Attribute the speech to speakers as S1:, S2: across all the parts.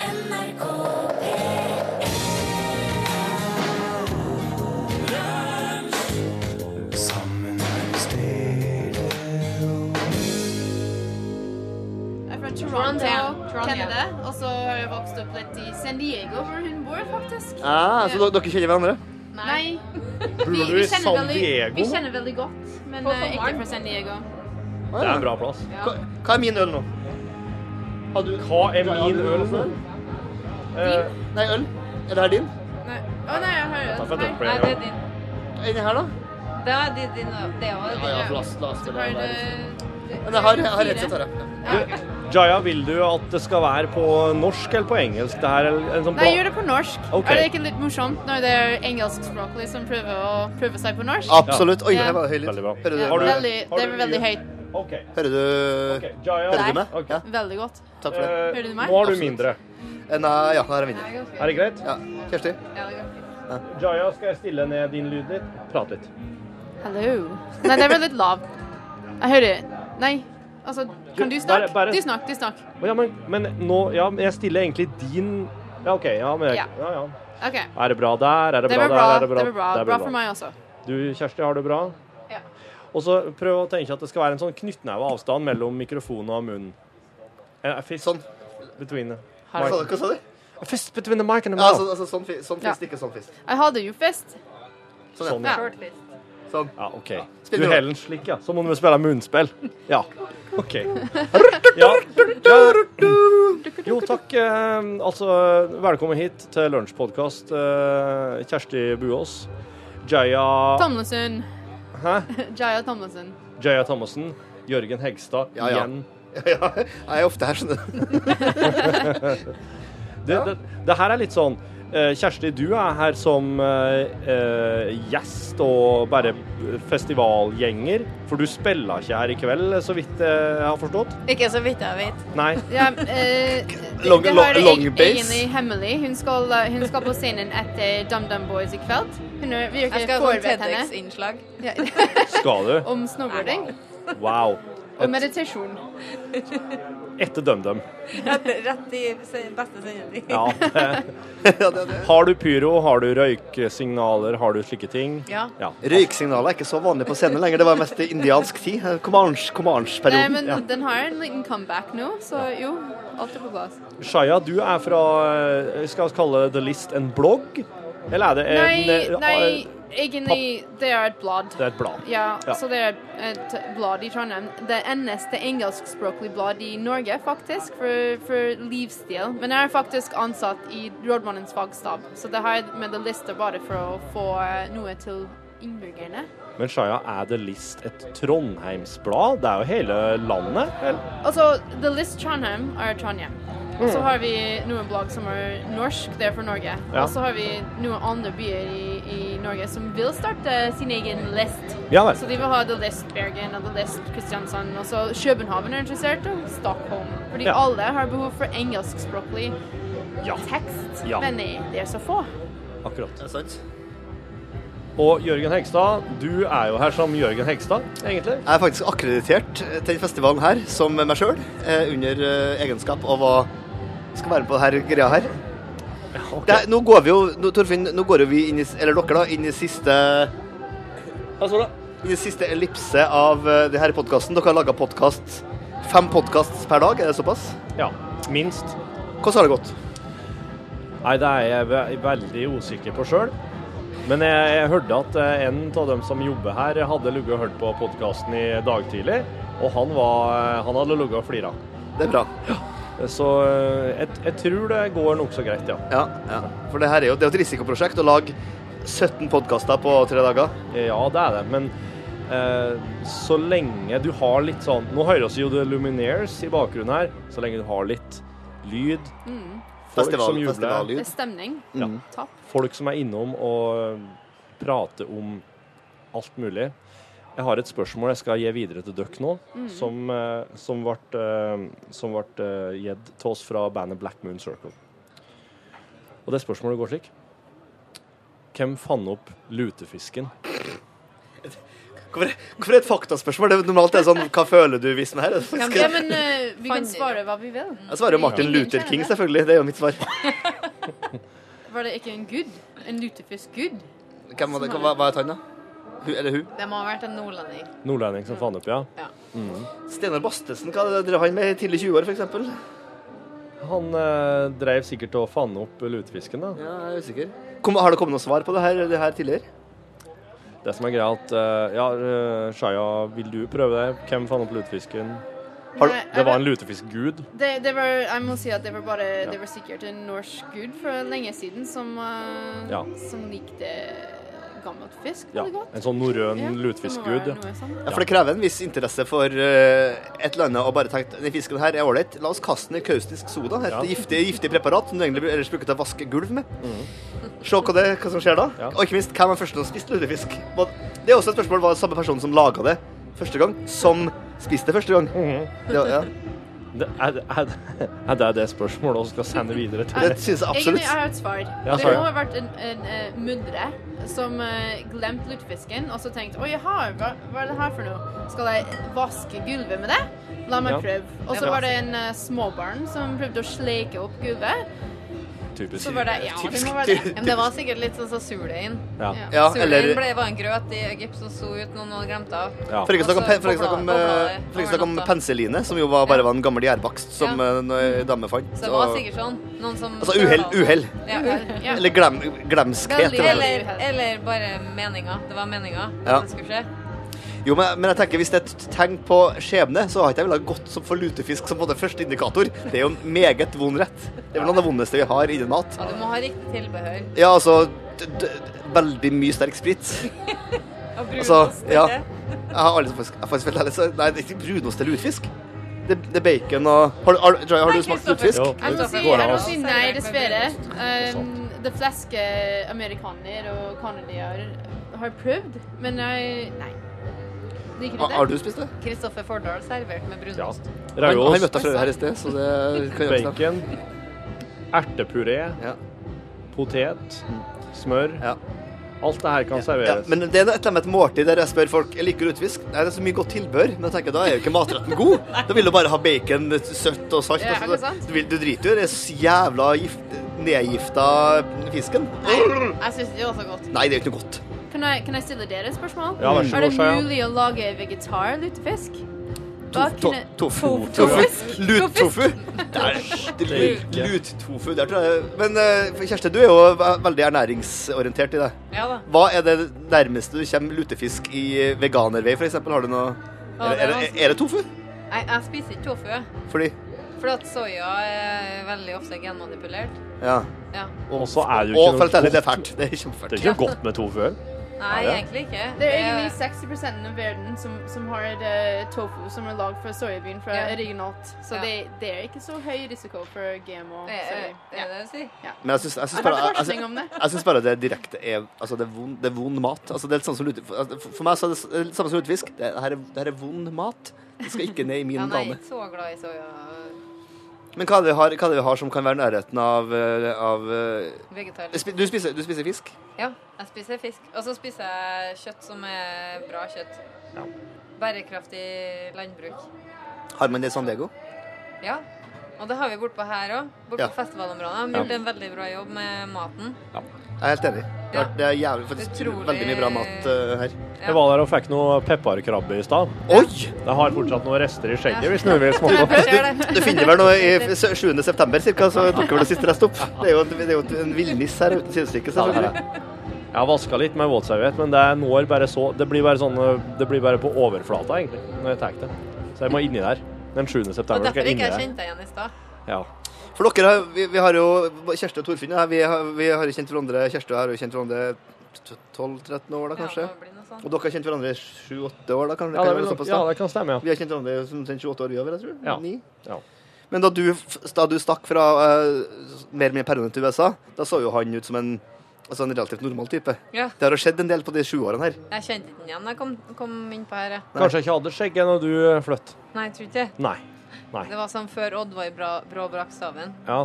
S1: NRK
S2: Jeg er fra Toronto, Canada. Og så har jeg vokst opp litt i San Diego, hvor hun bor, faktisk.
S3: Ah, så dere kjenner hverandre?
S2: Nei.
S4: Bor du i San Diego?
S2: vi kjenner veldig godt, men
S5: På
S2: eh, ikke
S5: sommeren.
S2: fra San Diego.
S4: Det er en bra plass.
S3: Hva, hva er min øl nå? Har du
S4: Hva er
S3: har
S4: min
S3: du
S4: øl nå? Eh,
S3: Nei, øl. Er det her din?
S2: Nei. Å nei, jeg har
S4: Takk for at
S2: den
S4: dere
S2: her.
S4: ble-
S5: Nei, det er din.
S3: Er det her, da?
S5: Det er din, din det òg.
S3: Ja, ja, la oss- la oss
S2: Du
S3: spille
S2: har
S3: den der.
S2: eh,
S3: Men jeg har, jeg har rett sett
S2: fire.
S3: her. ja.
S4: du, Jaya, vil du at det skal være på norsk eller på engelsk? Det her eller en sånn
S2: Nei,
S4: bra-
S2: gjør det på norsk.
S4: Ok.
S2: Er det ikke litt morsomt når det er engelskspråklig som prøver å prøve seg på norsk?
S3: Absolutt. Oi,
S2: Ja.
S3: her var høy lyd.
S4: Veldig bra.
S3: Hører du,
S2: Ja,
S4: Har du-
S2: veldig,
S4: har
S2: det
S4: du
S2: er veldig
S4: mye?
S2: høyt.
S4: OK.
S3: hører du,
S4: ok, Jaya.
S3: hører du meg?
S4: Ok.
S3: Ja,
S2: Veldig godt.
S3: takk for det.
S4: Eh,
S2: Hører du meg?
S4: Nå har du
S3: Absolutt.
S4: mindre.
S3: Eh, Nei, ja, her er min.
S4: Er det greit?
S3: Ja. Kjersti?
S4: Jaya, skal jeg stille ned din lyd litt? Prate litt.
S2: Hello. Nei, det er veldig lavt. Jeg hører Nei, altså Kan du snakke?
S4: bare- bare-
S2: Du snakk, du snakk.
S4: Å, Ja, men, men nå Ja, men jeg stiller egentlig din Ja, OK. Ja, men jeg,
S2: Ja.
S4: ja, ja.
S2: OK.
S4: Er det bra der? Er det
S2: Det blir
S4: bra der?
S2: bra.
S4: Er det bra?
S2: Det blir bra.
S4: Det er
S2: Bra for meg også.
S4: Du, Kjersti, har det bra?
S2: Ja.
S4: Og så prøv å tenke at det skal være en sånn knyttneve avstand mellom mikrofonen og munnen. Eh, fist
S3: Sånn.
S4: between the
S3: Hva
S4: mic.
S3: sa du? Hva sa du?
S4: A Fist between the mic and the
S3: Ja,
S4: mouth.
S3: altså, altså, sånn, fi- sånn fist, ikke sånn fist.
S2: Jeg hadde jo fest.
S3: Sånn,
S4: ja.
S2: Ja.
S3: Sånn.
S4: Ja, OK.
S3: Spill
S4: Du
S3: bra.
S4: heller den slik, ja. Så må du spille munnspill. Ja. OK. Ja. Jo, takk. Eh, altså, velkommen hit til lunsjpodkast. Eh, Kjersti Buås. Jaya,
S2: Tomlesen.
S4: Hæ?
S2: Jaya Tomlesen.
S4: Jaya Thomassen. Jørgen Hegstad
S3: Ja, ja.
S4: igjen.
S3: Ja, jeg er ofte her, skjønner du.
S4: Det, det, det her er litt sånn eh, Kjersti, du er her som eh, eh, gjest og bare festivalgjenger. For du spiller ikke her i kveld, så vidt eh, jeg har forstått.
S5: Ikke så vidt jeg vet.
S4: Nei.
S2: Ja, eh, det-
S3: Long-
S2: det her er
S3: long- long
S2: eg-
S3: bass.
S2: egentlig hemmelig. Hun skal, eh, hun skal på scenen etter DumDum Boys i kveld. Hun er, vi har
S5: Jeg
S2: ikke
S5: skal ha sånn
S2: forberedt henne
S5: TEDX-innslag.
S2: Ja,
S4: Skal du?
S2: om snowboarding
S4: Wow.
S2: og meditasjon.
S4: Etter DumDum.
S5: Rett i se- beste sendetid.
S4: Ja.
S3: Ja, det, det.
S4: Har du pyro, har du røyksignaler, har du slike ting?
S5: Ja.
S4: ja.
S3: Røyksignalet er ikke så vanlig på scenen lenger. Det var mest i indiansk tid. Eh,
S2: Nei,
S3: Comanche-perioden.
S2: Eh, men den har en liten comeback nå, så jo, alt er på plass.
S4: Shaya, du er fra eh, skal vi kalle The List en blogg? Eller er det en
S2: Nei,
S4: eh,
S2: nei, egentlig det er et blad.
S4: Det er et blad.
S2: Ja,
S4: Ja.
S2: så det er et blad i Trondheim. Det eneste engelskspråklige blad i Norge, faktisk, for, for livsstil. Men jeg er faktisk ansatt i rådmannens fagstab, så det har jeg med det lista bare for å få eh, noe til innbyggerne.
S4: Men Shaya, er The List et Trondheimsblad? Det er jo hele landet? Eller?
S2: Altså, The List Trondheim er Trondheim. Og så har vi noen blogg som er norsk, det er for Norge.
S4: Mm.
S2: Og
S4: Ja.
S2: så har vi noen andre byer i, i Norge som vil starte sin egen list.
S4: Ja vel.
S2: Så de vil ha The List Bergen og The List Kristiansand. Og så København er interessert, og Stockholm. Fordi
S4: Ja.
S2: alle har behov for engelskspråklig
S4: Ja,
S2: tekst,
S4: Ja.
S2: men eh, det er så få.
S4: akkurat.
S3: Er det sant?
S4: Og Jørgen Hegstad, du er jo her som Jørgen Hegstad, egentlig.
S3: Jeg er faktisk akkreditert til denne festivalen her som meg sjøl, under eh, egenskap av å skal være med på denne greia her. Det, er- nå går vi jo, nå, Torfinn, nå går jo vi inn i, s- eller dere da, inn i siste Inn i siste ellipse av uh, det her podkasten. Dere har laga podkast Fem podkast per dag, er det såpass?
S4: Ja, minst.
S3: Hvordan har det gått?
S4: Nei, det er jeg ve veldig usikker på sjøl. Men jeg, jeg hørte at eh, en av dem som jobber her, hadde ligget og hørt på podkasten i dag tidlig. Og han, var, eh, han hadde ligget og flira.
S3: Det er bra.
S4: Så eh, jeg, jeg tror det går nokså greit, ja.
S3: Ja, ja. For det her er jo det er jo et risikoprosjekt å lage 17 podkaster på tre dager.
S4: Ja, det er det. Men eh, så lenge du har litt sånn Nå høres jo The Lumineers i bakgrunnen her. Så lenge du har litt lyd, folk
S3: Festival,
S4: som jubler,
S2: Det
S3: festivallyd.
S2: er stemning.
S4: Ja.
S5: Mm.
S2: Topp.
S4: folk som er innom og eh, prater om alt mulig. Jeg har et spørsmål jeg skal gi videre til dere nå, som, eh, som ble, eh, som ble eh, gitt til oss fra bandet Black Moon Circle. Og det spørsmålet går slik. Hvem fant opp lutefisken?
S3: Hvorfor, hvorfor er det et faktaspørsmål? Det er normalt det er sånn Hva føler du hvis den her?
S2: Ja,
S3: Jeg
S2: men eh, vi kan
S5: Fant-
S2: svare hva vi vil.
S3: svarer jo Martin
S2: Ingen
S3: Luther
S2: kjenner
S3: King,
S2: det.
S3: selvfølgelig. Det er jo mitt svar.
S2: Var det ikke en gud? En lutefisk gud?
S3: Hvem var det? Hva, hva het han, da? Hun, eller hun?
S5: Det må ha vært en nordlending.
S4: Nordlending som faen opp, ja.
S3: Steinar Bastesen, hva drev han med i tidlig 20 år, f.eks.?
S4: Han eh, dreiv sikkert og fanne opp lutefisken, da.
S3: Ja, jeg er usikker. Kom, har det kommet noe svar på det her, det her tidligere?
S4: Det som er greia, at eh, Ja, eh, Shaya, vil du prøve det? Hvem fant opp lutefisken?
S3: Har du-
S2: Nei, jeg
S4: Det var
S2: vet-
S4: en lutefiskgud.
S2: det, det var, jeg må si at det var bare
S4: Ja.
S2: Det var sikkert en norsk gud for lenge siden som, eh,
S4: Ja.
S2: som likte gammelt fisk
S4: Ja,
S2: veldig godt.
S4: en sånn norrøn
S2: Ja, det må
S4: lutefiskgud.
S2: være noe sånt.
S3: Ja, for det krever en viss interesse for eh, et eller annet å bare tenke den fisken her er ålreit, la oss kaste den i kaustisk soda. Et
S4: Ja.
S3: giftig, giftig preparat som du egentlig ellers bruker til å vaske gulv med. Se hva, det, hva som skjer da.
S4: Mm. Ja.
S3: Og ikke minst, hvem var første som spiste lutefisk? Var- Det er også et spørsmål var det samme person som laga det første gang, som spiste det første gang.
S4: Mm.
S3: ja, ja.
S4: Det, er, er, er det det spørsmålet vi skal sende videre til?
S3: Det syns jeg
S2: Egentlig, jeg
S3: absolutt.
S2: har et svar.
S4: Ja,
S2: det
S4: svar,
S2: må ha
S4: ja.
S2: vært en, en eh, mudre som eh, glemte lutefisken og så tenkte Å, jaha, hva, hva er det her for noe? Skal jeg vaske gulvet med det? La meg
S4: Ja.
S2: prøve. Og
S5: Det
S2: så
S5: var
S2: var det en eh, småbarn som prøvde å sleike opp gulvet.
S4: Typisk.
S2: Så var det Ja, det må
S3: Typisk.
S2: være det.
S5: Men det var sikkert litt sånn som surdeig.
S4: Ja.
S2: Ja.
S3: Ja,
S5: Surdeig
S3: eller
S5: ble var en grøt i Egypt som så ut noen hadde glemt av.
S4: Ja.
S3: For ikke å snakke om,
S5: Altså,
S3: pe- for ikke å snakke om,
S5: bobla- bobla
S3: eh,
S5: det
S3: for ikke å snakke om
S5: over natta.
S3: penseline, som jo var, bare var en gammel gjærbakst som
S5: Ja.
S3: eh, en dame fant.
S5: Så det var
S3: og-
S5: sikkert sånn. Noen som
S3: Altså, uhell-
S5: søla.
S3: uhell.
S5: Ja, uhell.
S2: Ja.
S3: Eller glem, glemskhet.
S2: Veldig
S3: i hvert fall.
S5: Eller, eller bare meninga. Det var meninga
S3: Ja.
S5: at det skulle skje.
S3: Jo, men, men jeg tenker hvis det er et tegn på skjebne, så har ikke jeg villet gått som for lutefisk som både første indikator. Det er jo en meget vond rett. Det er vel noe av det vondeste vi har innen mat.
S5: Og du må ha riktig tilbehør.
S3: Ja, altså d d Veldig mye sterk sprit.
S5: Og
S3: Altså,
S5: brunost.
S3: ja.
S5: ikke?
S3: Jeg har aldri faktisk, jeg har faktisk veldig, så- Nei, det er ikke brunost til lutefisk. Det, det er bacon og Har, du- har, du- Joy, har du
S5: Nei,
S3: smakt
S5: Kristoffer.
S3: lutefisk?
S4: Jo,
S2: Jeg må
S4: det
S5: Altså,
S2: si,
S5: går
S4: går
S2: jeg
S4: an
S2: må
S4: å
S2: si nei, dessverre. Um, de fleste amerikanere og canadiere har prøvd, men jeg Nei. Liker
S3: Ah, Har, har
S2: ikke det.
S3: du spist det?
S5: Kristoffer Fordal servert med
S4: ja.
S5: brunost.
S3: Han, han
S4: Rauås,
S3: møtte deg for øvrig her i sted, så det kan jeg bestemme.
S4: bacon, ertepuré,
S3: Ja.
S4: potet, smør.
S3: Ja.
S4: Alt det her kan
S3: Ja,
S4: serveres.
S3: men det er noe- et eller annet med et måltid der jeg spør folk jeg liker lutefisk. Nei, det er så mye godt tilbehør, men jeg tenker da er jo ikke matretten god. Da vil du bare ha bacon søtt og salt.
S2: Ja,
S3: og så-
S2: ikke sant?
S3: du, vil, du driter jo i den jævla gift, nedgifta fisken.
S5: Jeg syns det var så godt.
S3: Nei, det er jo ikke noe godt.
S2: Kan jeg, kan jeg stille dere et spørsmål?
S4: Ja, vær så
S2: er det
S4: god, Shayan.
S2: mulig å lage vegetar-lutefisk? Hva
S3: To-
S2: kunne-
S3: to-
S2: Tofu.
S3: Tofu. Tofu.
S2: Tofisk.
S3: Lut-tofu.
S4: Steike.
S3: Lut-tofu. Der tror jeg Men eh, Kjersti, du er jo ve- veldig ernæringsorientert i det.
S5: Ja da.
S3: Hva er det nærmeste du kommer lutefisk i veganervei, f.eks.? Har du noe
S5: Ja,
S3: er,
S5: det er
S3: er, er, er det tofu?
S5: Jeg, jeg spiser ikke tofu. jeg.
S3: Fordi
S5: Fordi at soya er veldig ofte genmanipulert.
S3: Ja.
S5: Ja.
S4: Og så er det jo
S3: Og
S4: ikke
S3: for å
S4: noe
S3: telle, det er
S4: godt.
S3: fælt. Det er kjempefælt.
S4: Det er ikke noe godt med tofu.
S5: Nei,
S4: Ja.
S5: egentlig ikke.
S2: Det er egentlig 60 av verden som, som har et eh, tofu som er lagd fra soyabean fra
S5: Ja.
S2: originalt, så
S5: Ja.
S2: det, det er ikke så høy risiko for GMO.
S5: Det er
S2: soya.
S5: det Eh, er det du sier.
S3: Men jeg syns, jeg syns
S2: Jeg har
S3: bare,
S2: hørt
S3: jeg,
S2: forskning
S3: jeg,
S2: om det.
S3: jeg syns bare det direkte er Altså, det er vond, det er vond mat. Altså, det er litt sånn som lute, for, altså, for meg så er det s- det er litt samme som lutefisk. Det, her er, det her er vond mat. Det skal ikke ned i min
S5: Ja, nei, jeg
S3: dame.
S5: er ikke så glad i soya.
S3: Men hva er, det vi har, hva er det vi har som kan være i nærheten av, eh, av eh,
S5: Vegetar.
S3: spi- du, spiser, du spiser fisk?
S5: Ja, jeg spiser fisk. Og så spiser jeg kjøtt som er bra kjøtt.
S4: Ja.
S5: Bærekraftig landbruk.
S3: Har man det i San Diego?
S5: Ja. Og det har vi bortpå her òg. Bortpå
S3: Ja.
S5: på festivalområdet. De har gjort en veldig bra jobb med maten.
S3: Jeg er helt enig. Det er, det er jævlig, faktisk
S5: Utrolig-
S3: veldig mye bra mat eh, her.
S4: Jeg var der og fikk noe pepperkrabbe i stad.
S3: Oi!
S4: Jeg har fortsatt noen rester i skjegget, hvis noen vil smake på.
S5: Ser det.
S3: Du finner vel noe i f- 7. september cirka, så dukker vel det siste rest opp. Det er jo, det er jo en villniss her uten sidestykke, selvfølgelig.
S4: Jeg har vaska litt med våtserviett, men det når bare så Det blir bare sånn eh, Det blir bare på overflata, egentlig, når jeg tar det. Så jeg må inni der. Den 7.
S5: Og
S4: september skal
S5: derfor
S4: jeg
S5: ikke
S4: inni
S5: jeg
S4: der.
S5: kjente deg igjen i stad.
S4: Ja.
S3: For dere, har- vi, vi har jo Kjersti og Torfinn, ja, vi, har- vi har jo kjent hverandre Kjersti og jeg har jo kjent hverandre t- 12-13 år, da kanskje.
S5: Ja, det må bli noe sånt.
S3: Og dere har kjent hverandre i 7-8 år, da kan
S4: Ja, det,
S3: kan være
S4: vil,
S3: såpass,
S4: ja,
S3: da.
S4: det kan stemme, ja.
S3: Vi har kjent hverandre som omtrent 28 år, vi òg, vil jeg tro.
S4: Ja.
S3: Ni.
S4: ja.
S3: Men da du, f- da du stakk fra eh, mer eller mindre permanent til USA, da så jo han ut som en, altså en relativt normal type.
S5: Ja.
S3: Det har jo skjedd en del på de sju årene her.
S5: Jeg kjente ikke den igjen da jeg kom, kom innpå her. jeg.
S4: Kanskje jeg ikke hadde skjegget når du flytt.
S5: Nei, jeg tror ikke det.
S4: Nei. Nei.
S5: Det var som før Oddvar Bra- Brå brakk staven.
S4: Ja.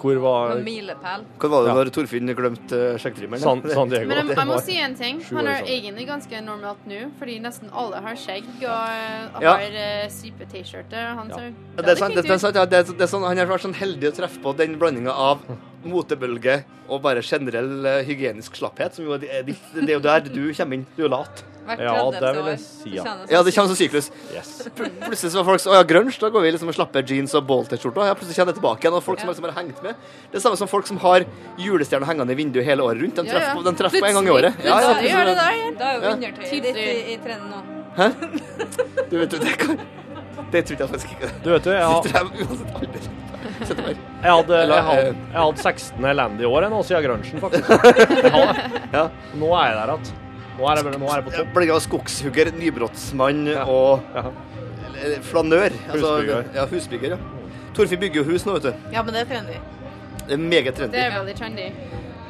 S4: Hvor var
S5: Noen milepæl.
S3: Hva var det
S4: Ja.
S3: når Torfinn glemte uh, skjeggtrimmeren?
S4: San, San Diego?
S2: Men jeg, jeg må
S3: var sånn.
S2: si en ting.
S4: sju
S2: Han
S4: år
S2: er
S4: gammel.
S2: egentlig ganske normalt nå, fordi nesten alle har skjegg og
S3: Ja.
S2: har eh, sype T-skjorter. Han
S4: Ja.
S2: ser
S3: Ja, det er
S2: veldig
S3: sant, det,
S2: fint
S3: det er
S2: ut.
S3: sant ja, det, er- det er sånn, Han har vært sånn heldig å treffe på den blandinga av motebølge og bare generell eh, hygienisk slapphet. Som jo er, det, det er jo der du kommer inn. Du er lat.
S5: Hvert
S4: Ja, det
S5: tredjeste
S4: vil jeg
S5: år.
S4: si, ja.
S5: kjennes
S3: Ja, det kommer som syklus.
S4: Yes.
S3: Pl- Plutselig så var folk sånn Å ja, grunge, da går vi liksom med slappe jeans og bolterskjorter. Ja, plutselig kjenner jeg tilbake igjen. Og folk som
S5: Ja.
S3: liksom har hengt med. Det er samme som folk som har julestjerner hengende i vinduet hele året rundt. De
S2: Ja,
S3: treffer,
S2: ja.
S3: På, de treffer på en gang i året. Ja, ja,
S2: Plutselig gjør det der.
S5: Da er jo
S3: Ja.
S5: undertøyet ditt i, i trenden nå.
S3: Du vet jo, det kan Det tror jeg faktisk ikke.
S4: Du vet jo, jeg,
S3: Det
S4: har-
S3: tror jeg uansett aldri. Sett meg.
S4: jeg hadde, jeg hadde,
S3: Eller, eh,
S4: jeg hadde 16. land i år jeg nå, siden grunchen, faktisk. Jeg har det.
S3: Ja.
S4: Nå er jeg der igjen. Nå er jeg, bare- nå er jeg på topp.
S3: Blanding av skogshugger, nybrottsmann
S4: Ja.
S3: og
S4: Ja.
S3: eh, flanør.
S4: Husbygger.
S3: ja, husbygger, ja. Torfinn bygger jo hus nå, vet du.
S5: Ja, men det er trendy.
S3: Det er meget
S2: Det
S3: trendy.
S2: er veldig trendy.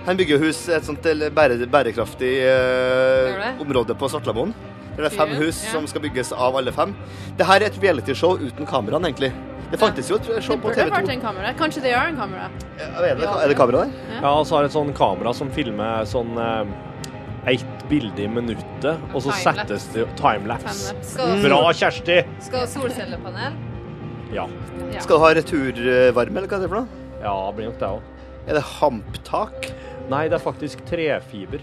S3: Han bygger jo hus i et sånt eh, bære, bærekraftig eh,
S5: Gjør det?
S3: område på Svartlamoen. Der det er fem
S2: Ja,
S3: hus
S2: ja.
S3: som skal bygges av alle fem. Dette er et realityshow uten kameraene, egentlig. Det fantes jo et show
S2: Det
S3: på
S2: burde
S3: TV
S2: vært
S3: 2.
S2: en kamera. Kanskje det er en kamera.
S3: Er det, er det kamera der?
S4: Ja, og så har jeg et sånn kamera som filmer sånn eh, ett bilde i minuttet, og så
S5: Timelapse.
S4: settes det Timelapse.
S2: Timelapse.
S5: Skal,
S4: Mm. Bra, Kjersti!
S5: skal ha solcellepanel?
S4: Ja.
S2: Ja.
S3: Skal du ha returvarme, eller hva er det for noe?
S4: Ja, det blir nok det òg.
S3: Er det hamptak?
S4: Nei, det er faktisk trefiber.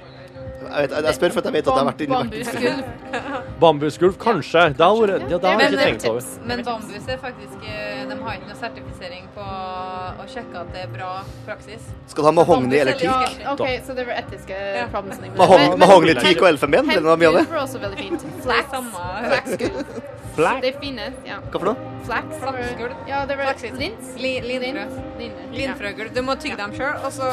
S3: Jeg, vet, jeg spør for at jeg vet at jeg har vært inni
S2: Bam- Bambusgulv.
S4: Bambusgulv, kanskje. Det har vært Ja, det har
S5: Men,
S4: jeg ikke tenkt over.
S5: eh, men bambus er faktisk eh, De har ikke noe sertifisering på å sjekke at det er bra praksis.
S3: Skal du ha mahogni eller
S5: Ja.
S3: teak?
S2: OK, så det var etiske problemstillinger.
S3: Mahogni,
S2: Men- men-
S3: mahogni, teak og elfenben? Eller noe mye av det?
S2: Hempgulv var også veldig fint.
S5: Det er
S2: Flax.
S5: samme
S2: Flaxgulv.
S4: Flak.
S2: Det er fine. Ja.
S3: Hva for noe?
S2: Flax. var-
S5: Flaxgulv.
S2: Ja, det var
S5: Flaxgulv.
S2: lins.
S5: Li- linfrø.
S2: Linfrø. Ja.
S5: Linfrøgl. Du må tygge dem sjøl, og så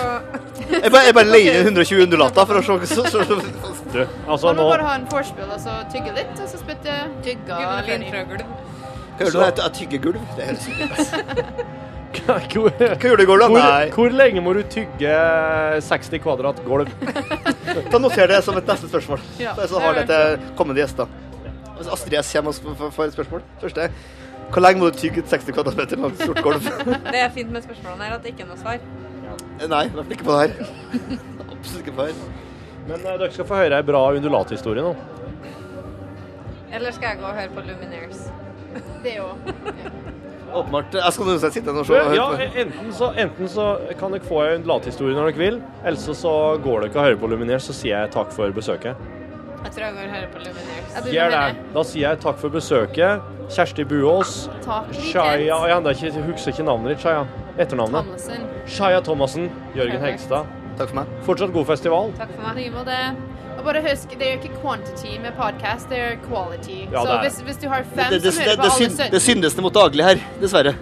S3: Jeg bare, jeg bare leier inn 120 undulater for å se så, så, så.
S4: Du, altså
S2: Man må
S4: nå
S2: bare ha en vorspiel og så tygge litt, og så spytte
S5: Gulv- linfrøgl.
S3: Hører du det? Jeg tygger gulv. Det høres ut
S4: hvor,
S3: Hva gjorde du i går, da?
S4: hvor,
S3: Nei.
S4: hvor lenge må du tygge 60 kvadrat gulv?
S3: Da noterer jeg det som et neste spørsmål.
S2: Ja.
S3: Så har det til kommende gjester. Hvis Astrid S kommer og sp- f- får et spørsmål Første Hvor lenge må du tygge et 60 kvadratmeter langt stort gulv?
S5: Det er fint med spørsmålene her at det ikke er noe svar.
S3: Eh, Nei, i hvert fall ikke på det her. Absolutt ikke på det her.
S4: Men eh, dere skal få høre ei bra undulathistorie nå.
S5: Eller skal jeg gå og høre på Lumineers?
S2: Det òg.
S3: Åpenbart. Jeg skal uansett sitte her og
S4: Du,
S3: se og
S4: Ja,
S3: høre på.
S4: enten så, enten så kan dere få en lathistorie når dere vil, eller så- så går dere og hører på Luminert, så sier jeg takk for besøket.
S5: Jeg tror jeg går og hører på Lumineers.
S4: Gjør det. Da sier jeg takk for besøket. Kjersti Buås.
S2: Takk.
S4: Shaya og Jeg enda ikke- jeg husker ikke navnet ditt, Shaya. Etternavnet.
S2: Hamlesen.
S4: Shaya Thomassen. Jørgen Hegstad.
S3: Takk for meg.
S4: Fortsatt god festival.
S5: Takk for
S2: I
S5: meg.
S2: like måte. Og bare husk, det er jo ikke quantity med podcast, det er quality.
S4: Ja, det
S2: så
S4: er
S2: hvis, hvis du har fem
S3: Det, det,
S2: som
S3: det,
S2: hører på
S3: det,
S2: alle
S3: synd, det
S2: sønnen,
S3: syndes det mot daglig her, dessverre.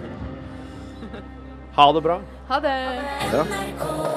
S4: Ha det bra.
S2: ha det!
S3: Ja.
S1: NRK